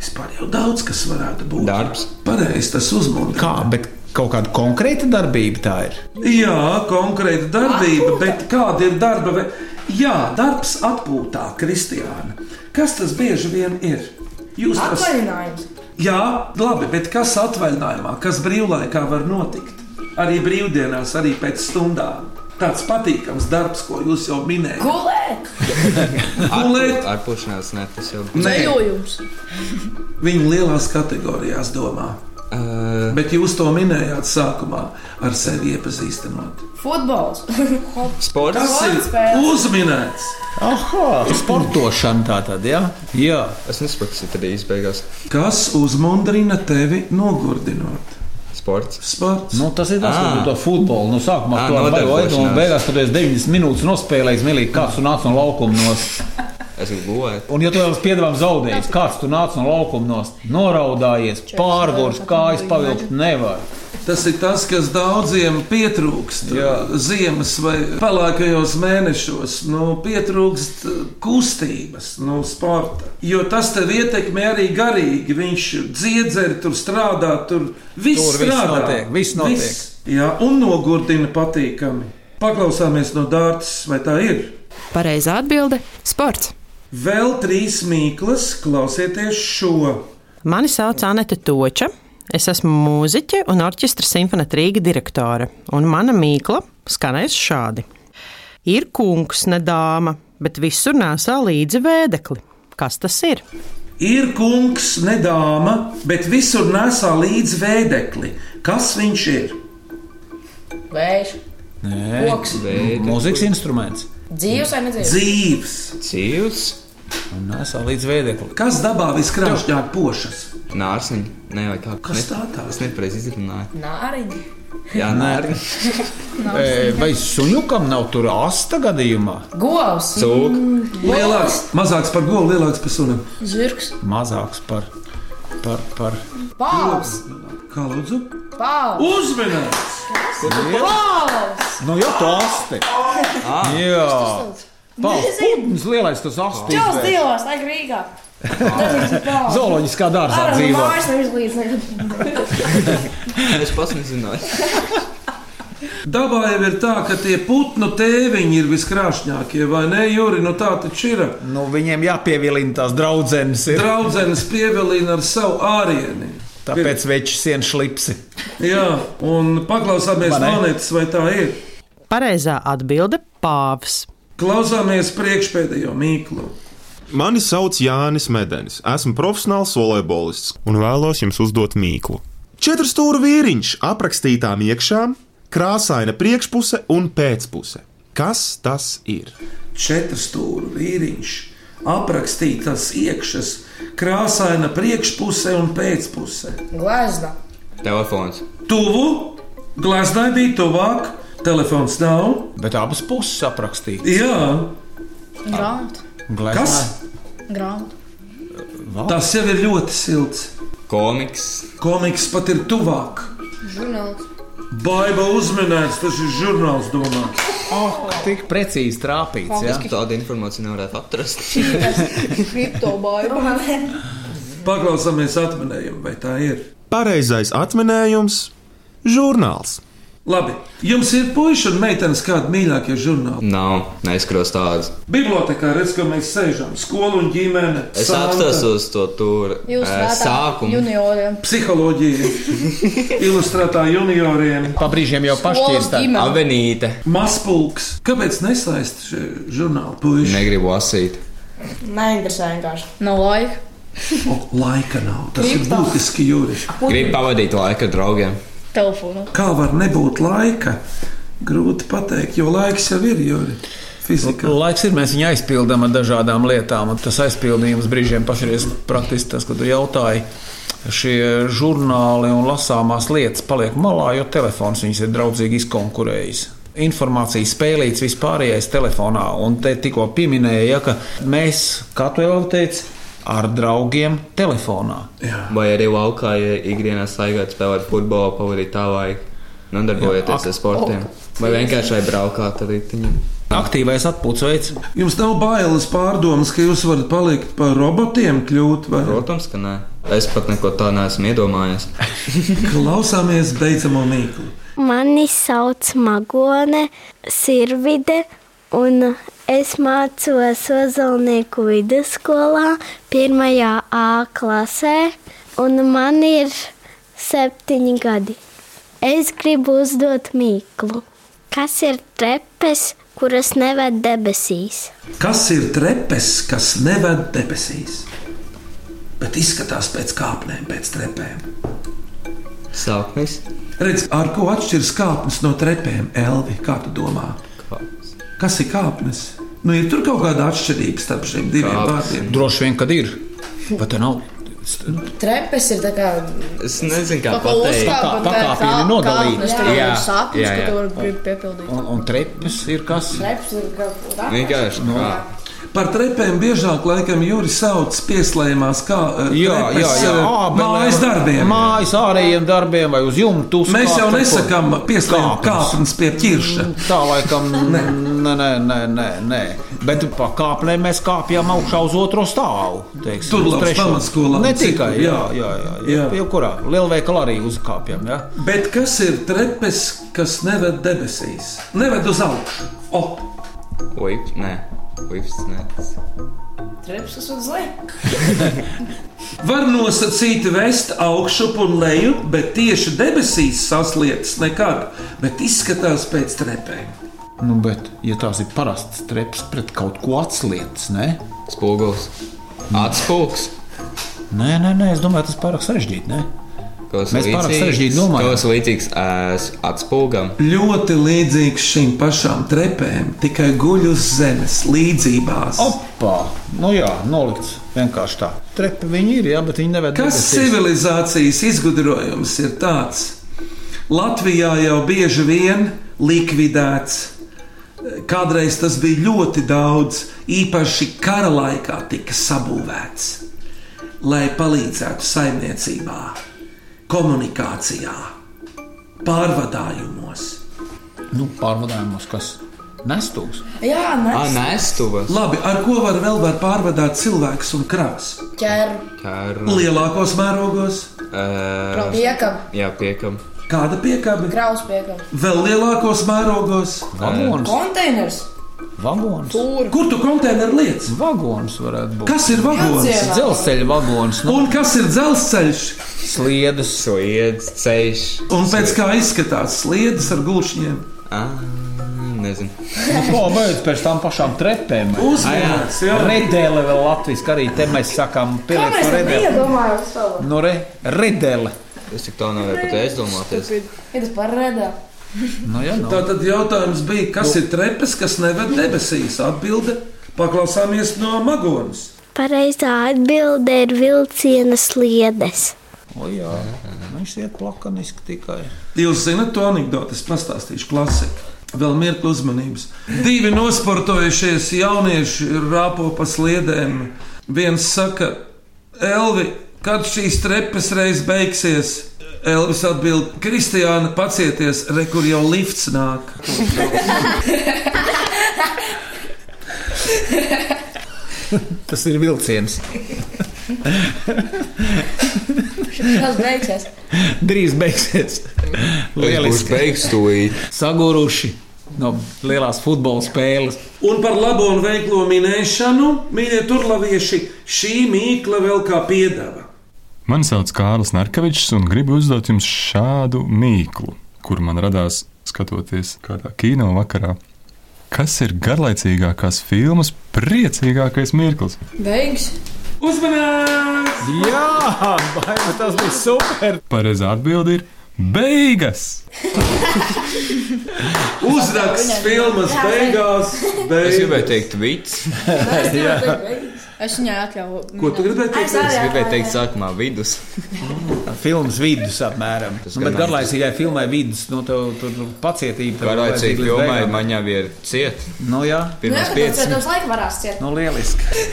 Speaker 3: Vispār jau daudz kas varētu būt. Darbs. Pareizi, tas uzmundrina.
Speaker 4: Kā, bet kaut kāda konkrēta darbība tā ir.
Speaker 3: Jā, konkrēta darbība, bet kāda ir darba? ve- Jā, darbs atpūtā, Kristiāna. Kas tas bieži vien ir? Jūs tas-
Speaker 5: Atvaļinājums.
Speaker 3: Jā, labi, bet kas atvaļinājumā, kas brīvlaikā var notikt? Arī brīvdienās, arī pēc stundām. Tāds patīkams darbs, ko jūs jau minējāt.
Speaker 5: Gulēt.
Speaker 3: Gulēt.
Speaker 8: Ar pušanās, ne, tas jau
Speaker 3: Nē. Viņa lielās kategorijās domā. Uh, Bet jūs to minējāt sākumā ar sevi iepazīstinot.
Speaker 7: Futbols.
Speaker 3: Sports. Tas ir
Speaker 7: Sportspēle.
Speaker 3: uzminēts.
Speaker 4: Aha, sportošana tā tad, jā. jā.
Speaker 8: Es nesaprotu, kas ir tad īsti beigās.
Speaker 3: Kas uzmundrina tevi nogurdinot?
Speaker 8: Sports.
Speaker 3: Sports.
Speaker 4: Nu, tas ir tas,
Speaker 8: Ā.
Speaker 4: kas manā futbolā nu, sākumā
Speaker 8: Ā,
Speaker 4: tur bija.
Speaker 8: nodarbošanās.
Speaker 4: Beigās tur bija 90 minūtes nospēlējis, melīgi kāds tur nāca no laukuma. Nost.
Speaker 8: Es gribu gulēt.
Speaker 4: Un, ja tu jau uz piedevām zaudējis, kāds tur nāca no laukuma, nost, noraudājies, pārgājis, kājas pavilkt nevar.
Speaker 3: Tas ir tas, kas daudziem pietrūkst ziemas vai pelēkajos mēnešos. Nu, pietrūkst eh, kustības no sporta. Jo tas tev ietekmē arī garīgi. Viņš dziedzer, tur strādā, tur viss
Speaker 4: Tur viss
Speaker 3: strādā.
Speaker 4: notiek, viss notiek.
Speaker 3: jā, un nogurdina patīkami. Paklausāmies no dārtas, vai tā ir?
Speaker 14: Pareizā atbilde - sports.
Speaker 3: Vēl trīs mīklas, klausieties šo.
Speaker 15: Mani sauc Anete Toča. Es esmu mūziķe un orķestra simfonija Rīga direktore. Un mana mīkla skanēs šādi. Ir kungs, ne dāma, bet visur nesā līdzi vēdekli. Kas tas ir?
Speaker 3: Ir kungs, ne dāma, bet visur nesā līdzi vēdekli. Kas viņš ir?
Speaker 5: Vējš.
Speaker 4: Nē,
Speaker 5: Koks.
Speaker 4: nu, mūzikas instruments.
Speaker 5: Dzīves vai nedzīves?
Speaker 3: Dzīves.
Speaker 8: Cīvs.
Speaker 4: Un nesā līdz vēdeklim.
Speaker 3: Kas dabā viskrāšņāk pošas?
Speaker 8: Nārsiņa. Nē, vai kā?
Speaker 3: Kas tā tā?
Speaker 8: Es nepareizi izrunāju.
Speaker 5: Nāriņi.
Speaker 8: Jā, nē.
Speaker 4: E, Vai suņukam nav tur asta gadījumā?
Speaker 5: Govs.
Speaker 4: Cūk.
Speaker 3: Lielāks, mazāks par golu, lielāks par sunu.
Speaker 5: Zirgs.
Speaker 4: Mazāks par. par, par.
Speaker 5: Pāvs.
Speaker 3: Kā lūdzu?
Speaker 5: Pāvs.
Speaker 3: Uzmanīgs!
Speaker 5: Pāvs.
Speaker 4: Nu, jā, tā aste. Jā, Pāvils Putins, lielais tas
Speaker 5: Čels
Speaker 4: astes.
Speaker 5: dzīvos, lai Rīgā. Tas ir pāvs.
Speaker 4: Zooloģiskā dārzā
Speaker 5: Ar
Speaker 4: dzīvo.
Speaker 5: Mājas nevis līdz nekad.
Speaker 8: Es pats nezināju.
Speaker 3: Dabā jau ir tā, ka tie putnu tēviņi ir viskrāšņākie, vai ne? Juri, nu tā taču ir.
Speaker 4: Nu, viņiem jāpievilina tās draudzenes. ir.
Speaker 3: Draudzenes pievilina ar savu ārieni.
Speaker 4: Tāpēc večs sien šlipsi.
Speaker 3: Jā, un paklausāmies
Speaker 4: Vai ne?
Speaker 3: monētas, vai tā ir.
Speaker 15: Pareizā atbilde - pāvs.
Speaker 3: Klausāmies priekšpēdējo mīklu.
Speaker 16: Mani sauc Jānis Medenis. Esmu profesionāls volejbolists un vēlos jums uzdot mīklu. Četru stūra vīriņš aprakstītām iekšām, krāsaina priekšpuse un pēcpuse. Kas tas ir?
Speaker 3: Četru stūra vīriņš, aprakstītas iekšas, krāsaina priekšpuse un pēcpuse.
Speaker 5: Glazda.
Speaker 8: Telefons.
Speaker 3: Tuvu, glāznai bija tuvāk, telefons nav.
Speaker 4: Bet abas puses aprakstītas.
Speaker 3: Jā,
Speaker 7: Grāmata.
Speaker 4: Gleznā.
Speaker 3: Kas?
Speaker 7: Grāmata.
Speaker 3: tas jau ir ļoti silts.
Speaker 8: Komiks.
Speaker 3: Komiks pat ir tuvāk.
Speaker 7: Žurnāls.
Speaker 3: Baiba uzminēts, tas ir žurnāls domā.
Speaker 4: Oh, tik precīzi trāpīts.
Speaker 8: Es
Speaker 4: Ja?
Speaker 8: pat tādu informāciju nevarētu atrast.
Speaker 7: Kriptobaiba.
Speaker 3: Paklausāmies atminējumu, vai tā ir.
Speaker 16: Pareizais atminējums - žurnāls.
Speaker 3: Labi, jums ir puikas un meitenes kādi mīļākie žurnāli.
Speaker 8: [laughs] Nav, neizskros tādas.
Speaker 3: Bibliotēkā redz, ka mēs sēžam, skolu un ģimene.
Speaker 8: Es
Speaker 3: Santa.
Speaker 8: atstāju uz to tur eh,
Speaker 7: Jūs rādā
Speaker 8: sākumu.
Speaker 7: junioriem.
Speaker 3: Psiholoģija, ilustrētā junioriem.
Speaker 4: Pabrīžiem jau
Speaker 7: pašķirstā. ģimene.
Speaker 8: Avenīte.
Speaker 3: Mazpulks. Kāpēc nesaist šie žurnāli? Puiši?
Speaker 8: Negribu lasīt.
Speaker 5: Neinteresē vienkārši.
Speaker 7: Nav laika.
Speaker 3: O, laika nav. Tas ir būtiski jūriši.
Speaker 8: Gribu pavadīt laiku ar draugiem.
Speaker 7: Telefonu.
Speaker 3: Kā var nebūt laika? Grūti pateikt, jo laiks jau ir jūri. Fizikā.
Speaker 4: Nu, Laiks ir, mēs viņu aizpildām ar dažādām lietām, un tas aizpildījums brīžiem pašreiz praktiski tas, ko tu jautāji. Šie žurnāli un lasāmās lietas paliek malā, jo telefons viņus ir draudzīgi izkonkurējis. Informācijas spēlīts vispārējais telefonā, un te tikko pieminēja, ja, ka mēs, kā tu jau teici, ar draugiem telefonā.
Speaker 8: Vai arī laukā, ja ikdienā staigājat, spēlēt futbolu, pavadīt tā laiku, nodarbojoties ar sportiem. Vai vienkārši vai braukāt ar riteņiem.
Speaker 4: Aktīvais atpūtas veids.
Speaker 3: Jums nav bailes pārdomas, ka jūs varat palikt par robotiem, kļūt par
Speaker 8: Protams, ka nē. Es pat neko tādu neesmu iedomājies.
Speaker 3: Klausāmies beidzamo mīklu.
Speaker 17: Mani sauc Magone, Sirvide, un es mācos Ozolnieku vidusskolā, 1. A klasē, un man ir septiņi gadi. Es gribu uzdot mīklu. Kas ir trepes, kuras neved debesīs?
Speaker 3: Kas ir trepes, kas neved debesīs? Bet izskatās pēc kāpnēm, pēc trepēm.
Speaker 8: Sāknis.
Speaker 3: Redz, ar ko atšķiras kāpnes no trepēm, Elvi? Kā tu domā? Kas ir kāpnes? Nu, ir tur kaut kāda atšķirība starp šiem diviem vārdiem.
Speaker 4: Droši vien, kad ir. Pat te nav.
Speaker 5: Trepes ir tā kā.
Speaker 8: Es nezinu, kā
Speaker 5: Kaut ko
Speaker 8: pateikt.
Speaker 5: uzkāpa,
Speaker 4: Pakā-
Speaker 5: tā kā
Speaker 4: pakāpieni nodalīti.
Speaker 5: kāpnes, tur
Speaker 4: Jā,
Speaker 5: ir saknes,
Speaker 4: jā,
Speaker 5: ko
Speaker 4: jā.
Speaker 5: tu vari grib piepildīt.
Speaker 4: Un, un trepes ir kas?
Speaker 5: Trepes ir kaut kā.
Speaker 8: Vienkārši.
Speaker 4: Nu,
Speaker 3: Par trepēm biežāk laikam jūri sauc pieslēmās kā eh,
Speaker 4: Jā, jā,
Speaker 3: trepes,
Speaker 4: jā.
Speaker 3: eh, mājas darbiem.
Speaker 4: Mājas ārējiem darbiem vai uz jumta.
Speaker 3: Mēs jau nesakām pieslēmt kāpnes pie ķirša.
Speaker 4: Tā
Speaker 3: [laughs]
Speaker 4: laikam, nē, nē, nē, nē, nē. Bet pa kāpnēm mēs kāpjām augšā uz otro stāvu. Teiksim,
Speaker 3: Tur
Speaker 4: uz
Speaker 3: labs
Speaker 4: trešo.
Speaker 3: pamatskolā
Speaker 4: Ne
Speaker 3: un
Speaker 4: tikai,
Speaker 3: citur,
Speaker 4: jā,
Speaker 3: jā.
Speaker 4: jā, jā. jā. Jebkurā lielveikalā arī uzkāpjām. Jā.
Speaker 3: Bet kas ir trepes, kas neved debesīs? Neved uz augšu. O,
Speaker 8: Uips, nē. Uips, nē.
Speaker 5: Trepes, kas uz leju.
Speaker 3: Var nosacīt vest augšup un leju, bet tieši debesīs saslietas nekad, bet izskatās pēc trepēm.
Speaker 4: Nu, bet, ja tās ir parastas trepas pret kaut ko atslietas, ne?
Speaker 8: Spogulis. Atspūgs.
Speaker 4: Nē, nē, nē, es domāju, tas pārāk sarežģīti. ne?
Speaker 8: Kaut
Speaker 4: Mēs pārāk
Speaker 8: līdzīgs-
Speaker 4: sarežģīti domājam.
Speaker 8: Kaut kas līdzīgs ēs atspūgam.
Speaker 3: Ļoti līdzīgs šīm pašām trepēm, tikai guļ uz zemes līdzībās.
Speaker 4: Opa! Nu jā, nolikts vienkārši tā. Trepi viņi ir, jā, bet viņi neved
Speaker 3: Kas
Speaker 4: debesīs.
Speaker 3: civilizācijas izgudrojums ir tāds? Latvijā jau bieži vien likvidēts. Kādreiz tas bija ļoti daudz, īpaši kara laikā tika sabūvēts, lai palīdzētu saimniecībā, komunikācijā, pārvadājumos.
Speaker 4: Nu, pārvadājumos, kas nestūs.
Speaker 5: Jā, nē.
Speaker 8: nestuvas.
Speaker 3: Labi, ar ko var vēl var pārvadāt cilvēkus un kravas?
Speaker 5: Ķer.
Speaker 8: Mm.
Speaker 3: Lielākos mērogos,
Speaker 8: Ē,
Speaker 5: Piekam.
Speaker 8: Jā, piekam.
Speaker 3: kāda piekāpe,
Speaker 5: Kraus piekam.
Speaker 3: vēl lielākos mērogos,
Speaker 5: Konteiners.
Speaker 4: Vagons.
Speaker 5: Tur.
Speaker 3: Kur tu konteineru lietas?
Speaker 4: Vagons varētu būt.
Speaker 3: Kas ir vagons? Vilcienā.
Speaker 4: Dzelzceļa vagons. nu,
Speaker 3: Un kas ir dzelzceļš?
Speaker 4: Sliedas, [laughs]
Speaker 8: sliedas, ceļš.
Speaker 3: Un pēc kā izskatās sliedas ar gulšņiem?
Speaker 8: Nezinu.
Speaker 4: Nu, ko beidz pēc tam pašām trepēm?
Speaker 3: Uzmanīgs, jā.
Speaker 4: Redēle vēl latviešu, arī te mēs sakām,
Speaker 5: Kā
Speaker 4: pieliec
Speaker 5: mēs
Speaker 4: no
Speaker 5: tam
Speaker 4: redēle.
Speaker 5: iedomājam savu?
Speaker 4: No Nu, re, redēle.
Speaker 8: Es tik tā nevaru pat aizdomāties.
Speaker 5: Ir tas par redā.
Speaker 4: Nu, jā,
Speaker 3: Tā tad jautājums bija, kas ir trepes, kas neved debesīs? Atbilde - paklausāmies no magonas.
Speaker 17: Pareizā atbilde ir vilciena sliedes.
Speaker 4: O, jā. Viņš iet plakaniski tikai.
Speaker 3: Jūs zinat to anekdoti, es pastāstīšu klasiku. Vēl mirkli uzmanības. Divi nosportojušies jaunieši rāpo pa sliedēm. Viens saka, Elvi, kad šīs trepes reiz beigsies? Elvis atbild, Kristiāna, pacieties, re, kur jau lifts nāk.
Speaker 4: Tas ir vilciens.
Speaker 5: Tas
Speaker 8: [laughs]
Speaker 5: beigsies.
Speaker 4: Drīz beigsies.
Speaker 8: Būs beigas tūlīt.
Speaker 4: Saguruši no lielās futbola spēles.
Speaker 3: Un par labo un veiklo minēšanu, mīļie turlavieši, šī mīkla vēl kā piedāvā.
Speaker 18: Mani sauc Kārlis Narkevičs, un gribu uzdot jums šādu mīklu, kur man radās skatoties kādā kino vakarā. Kas ir garlaicīgākās filmas priecīgākais mirklis?
Speaker 5: Beigas.
Speaker 3: Uzmanības!
Speaker 4: Jā, baigi, tas bija super!
Speaker 18: Pareizā atbilde ir beigas!
Speaker 3: Uzraksts filmas beigās.
Speaker 8: Es gribēju teikt, vits.
Speaker 7: Es viņai atļauju.
Speaker 3: Ko tu gribēji
Speaker 7: teikt? Es arī
Speaker 8: Es gribēju
Speaker 7: atvainojos.
Speaker 8: teikt, sākumā vidus.
Speaker 4: Filmas vidus apmēram. Nu, bet
Speaker 8: gan-
Speaker 4: garlaicīgai filmai vidus, nu, tev tur pacietība. tev vajadzīga
Speaker 8: Garlaicīgi
Speaker 4: līdz
Speaker 8: filmai
Speaker 4: beigām.
Speaker 8: man jau ir ciet.
Speaker 4: Nu, jā.
Speaker 8: Pirmās
Speaker 5: Pēc
Speaker 8: piecas.
Speaker 5: tam laika varās ciet.
Speaker 4: Nu, lieliski.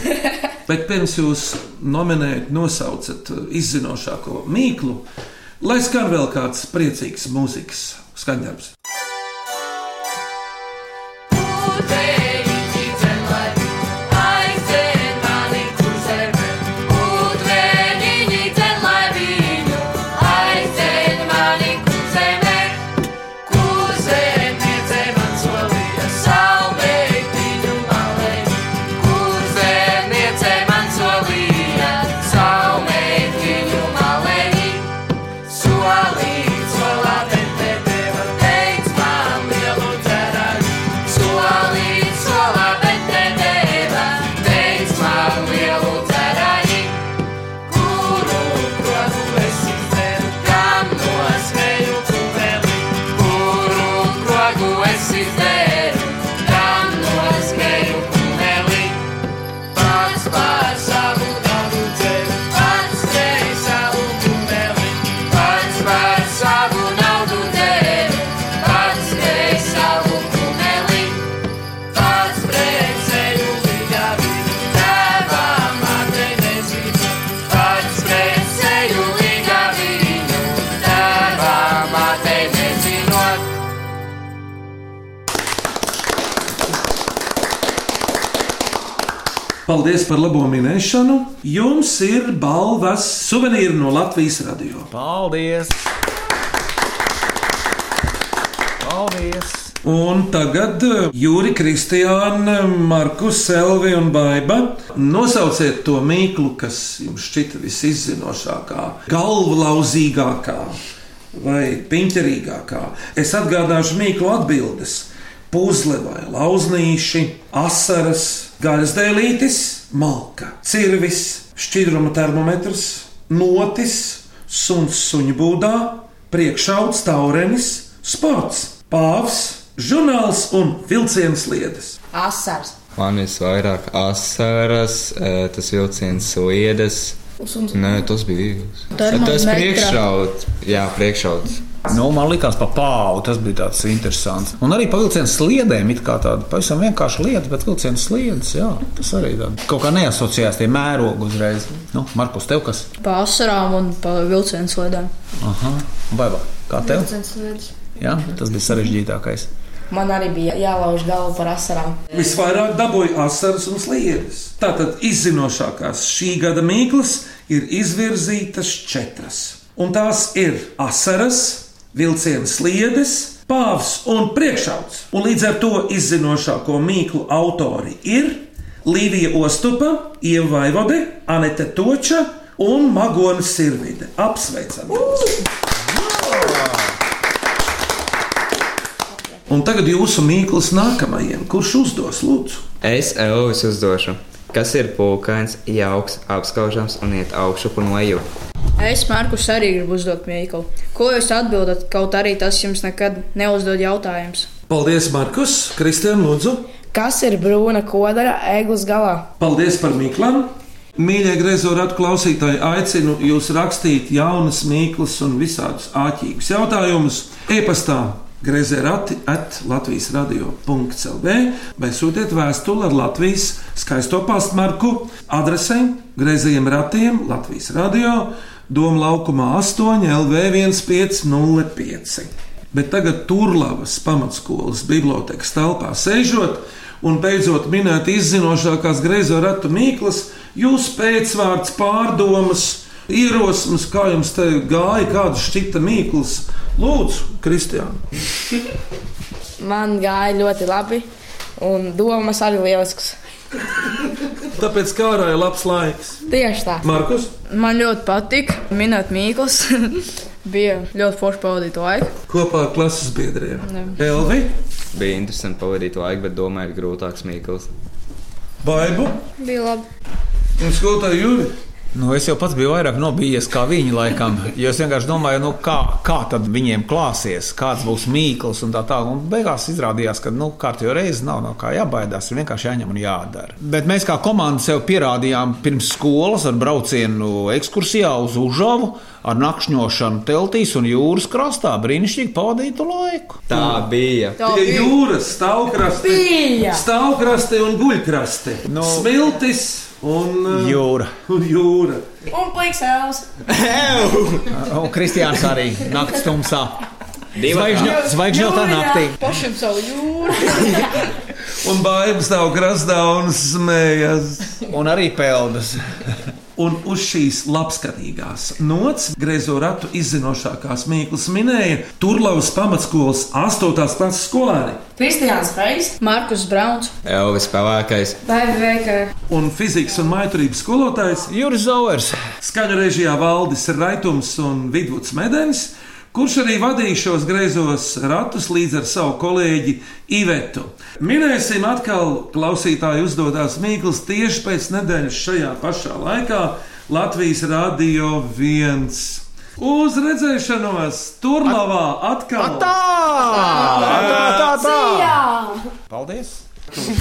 Speaker 3: Bet pirms jūs nominējat, nosaucat uh, izzinošāko mīklu, lai skan vēl kāds priecīgs mūzikas skaņdarbs.
Speaker 19: Solīt, solā, bet te deva, tei
Speaker 3: Paldies par labo minēšanu. Jums ir balvas suvenīri no Latvijas radio.
Speaker 4: Paldies! Paldies!
Speaker 3: Un tagad eh, Jūri, Kristiāna, eh, Markus, Selvi un Baiba. Nosauciet to mīklu, kas jums šķita visizzinošākā, galvlauzīgākā vai piņķerīgākā. Es atgādāšu mīklu atbildes. Puzle vai lauznīši, asaras, gaļas dēlītis, malka, cirvis, šķidruma termometrs, notis, suns suņu būdā, priekšauts, taurenis, sports, pāvs, žurnāls un vilciens liedes.
Speaker 2: Asars.
Speaker 8: Man visvairāk asaras, eh, tas vilciens sliedes.
Speaker 2: Usuns.
Speaker 8: Nē, tas bija vīgls. Tas
Speaker 4: Termometra.
Speaker 8: priekšrauts. Jā, priekšrauts.
Speaker 4: Nu, man liekas, pa pāvu tas bija tāds interesants. Un arī pa vilcienu sliedēm ir tāda pavisam vienkārša lieta, bet vilcienu sliedes, jā, tas arī tāds. Kaut kā neasociējās tie mērogi uzreiz. Nu, Markus, tev kas?
Speaker 7: Pa asarām un pa vilcienu slēdēm.
Speaker 4: Aha, baigā. Kā tev? Jā, tas bija sarežģītākais.
Speaker 5: Man arī bija jālauž galva par asarām.
Speaker 3: Visvairāk dabūja asaras un sliedes. Tātad izzinošākās šī gada mīklas ir izvirzītas četras. Un tās ir asaras, vilciena sliedes, pāvs un priekšauts. Un līdz ar to izzinošāko mīklu autori ir Līvija Ostupa, Ieva Vaivode, Anete Toča un Magona Sirvide. Apsveicam! Jūs! Un tagad jūsu mīklas nākamajam, kurš uzdos lūdzu.
Speaker 8: Es Elvis uzdošu. Kas ir pūkains, jauks, apskaužams un iet augšu un leju?
Speaker 7: Es Markus arī gribu uzdot mīklu. Ko jūs atbildat, kaut arī tas jums nekad neuzdod jautājums?
Speaker 3: Paldies, Markus! Kristian, lūdzu!
Speaker 5: Kas ir brūna kodara eglis galā?
Speaker 3: Paldies par mīklām! Mīļie grazorāta klausītāji, aicinu jūs rakstīt jaunas mīklas un visādus āķīgus jautājumus. E-pastā grazorāti at Latvijas radio.clv vai sūtiet vēstuli ar Latvijas skaisto pastmarku adresē Grazējiem ratiem Latvijas radio Doma laukumā 8 LV1505. Bet tagad Turlavas pamatskolas bibliotekas telpā sēžot un beidzot minēt izzinošākās greizā ratu mīklas, jūs pēcvārds, pārdomas, ierosmes, kā jums te gāja, kāda šķita mīklas. Lūdzu, Kristiāna!
Speaker 5: Man gāja ļoti labi, un domas arī lielisks.
Speaker 3: Tāpēc kā ārā ir labs laiks.
Speaker 7: Tieši tā.
Speaker 3: Markus,
Speaker 7: Man ļoti patīk minēt mīklas. [laughs] bija ļoti forši pavadīt laiku.
Speaker 3: kopā ar klases biedriem.
Speaker 6: Nu,
Speaker 7: Jā.
Speaker 3: Elvi,
Speaker 8: Bija interesanti pavadīt laiku, bet domāju, ka grūtāks mīkls.
Speaker 3: Baibu
Speaker 6: Bija labi.
Speaker 3: un skolotāju Jūri.
Speaker 4: Nu, es jau pats biju vairāk nobijies kā viņi laikam. Jo es vienkārši domāju, nu, kā, kā tad viņiem klāsies, kāds būs mīkls un tā tālāk. Un beigās izrādījās, ka nu, kārtīgi reizes nav no kā jābaidās, ir vienkārši jāņem un jādara. Bet mēs kā komanda sev pierādījām pirms skolas ar braucienu ekskursijā uz Užavu. Ar nakšņošanu teltīs un jūras krastā brīnišķīgi pavadītu laiku.
Speaker 8: Tā bija.
Speaker 3: Tā Pie bija. jūras stāvkrastē.
Speaker 4: Bija.
Speaker 3: Stāvkrastē un guļkrastē. No. Smiltis un uh,
Speaker 4: jūra.
Speaker 3: Un jūra.
Speaker 2: Un plīgs elvis.
Speaker 4: Un Kristiāns arī naktas tumsā. Zvaigžņotā naktī.
Speaker 2: Pašam savu jūru.
Speaker 3: Un baigas stāv krastā un smējas.
Speaker 4: Un arī peldas.
Speaker 3: Un uz šīs labskatīgās nots griezo ratu izzinošākās mīklas minēja Turlavas pamatskolas 8. klases skolēni
Speaker 5: Kristiāns Frejs.
Speaker 7: Markus Brauns.
Speaker 8: Elvis pelēkais.
Speaker 5: Vai veikā?
Speaker 3: un fizikas un maiturības skolotājs
Speaker 4: Juris Zauers.
Speaker 3: Skaņu režijā valdis Raitums un Vidvuds Medens, kurš arī vadīja šos griezos ratus līdz ar savu kolēģi Ivetu. Minēsim atkal klausītāju uzdotās mīklas tieši pēc nedēļas šajā pašā laikā Latvijas Rādio 1. Uz redzēšanos Turlavā atkal!
Speaker 4: Tā, tā, tā, tā. reizes.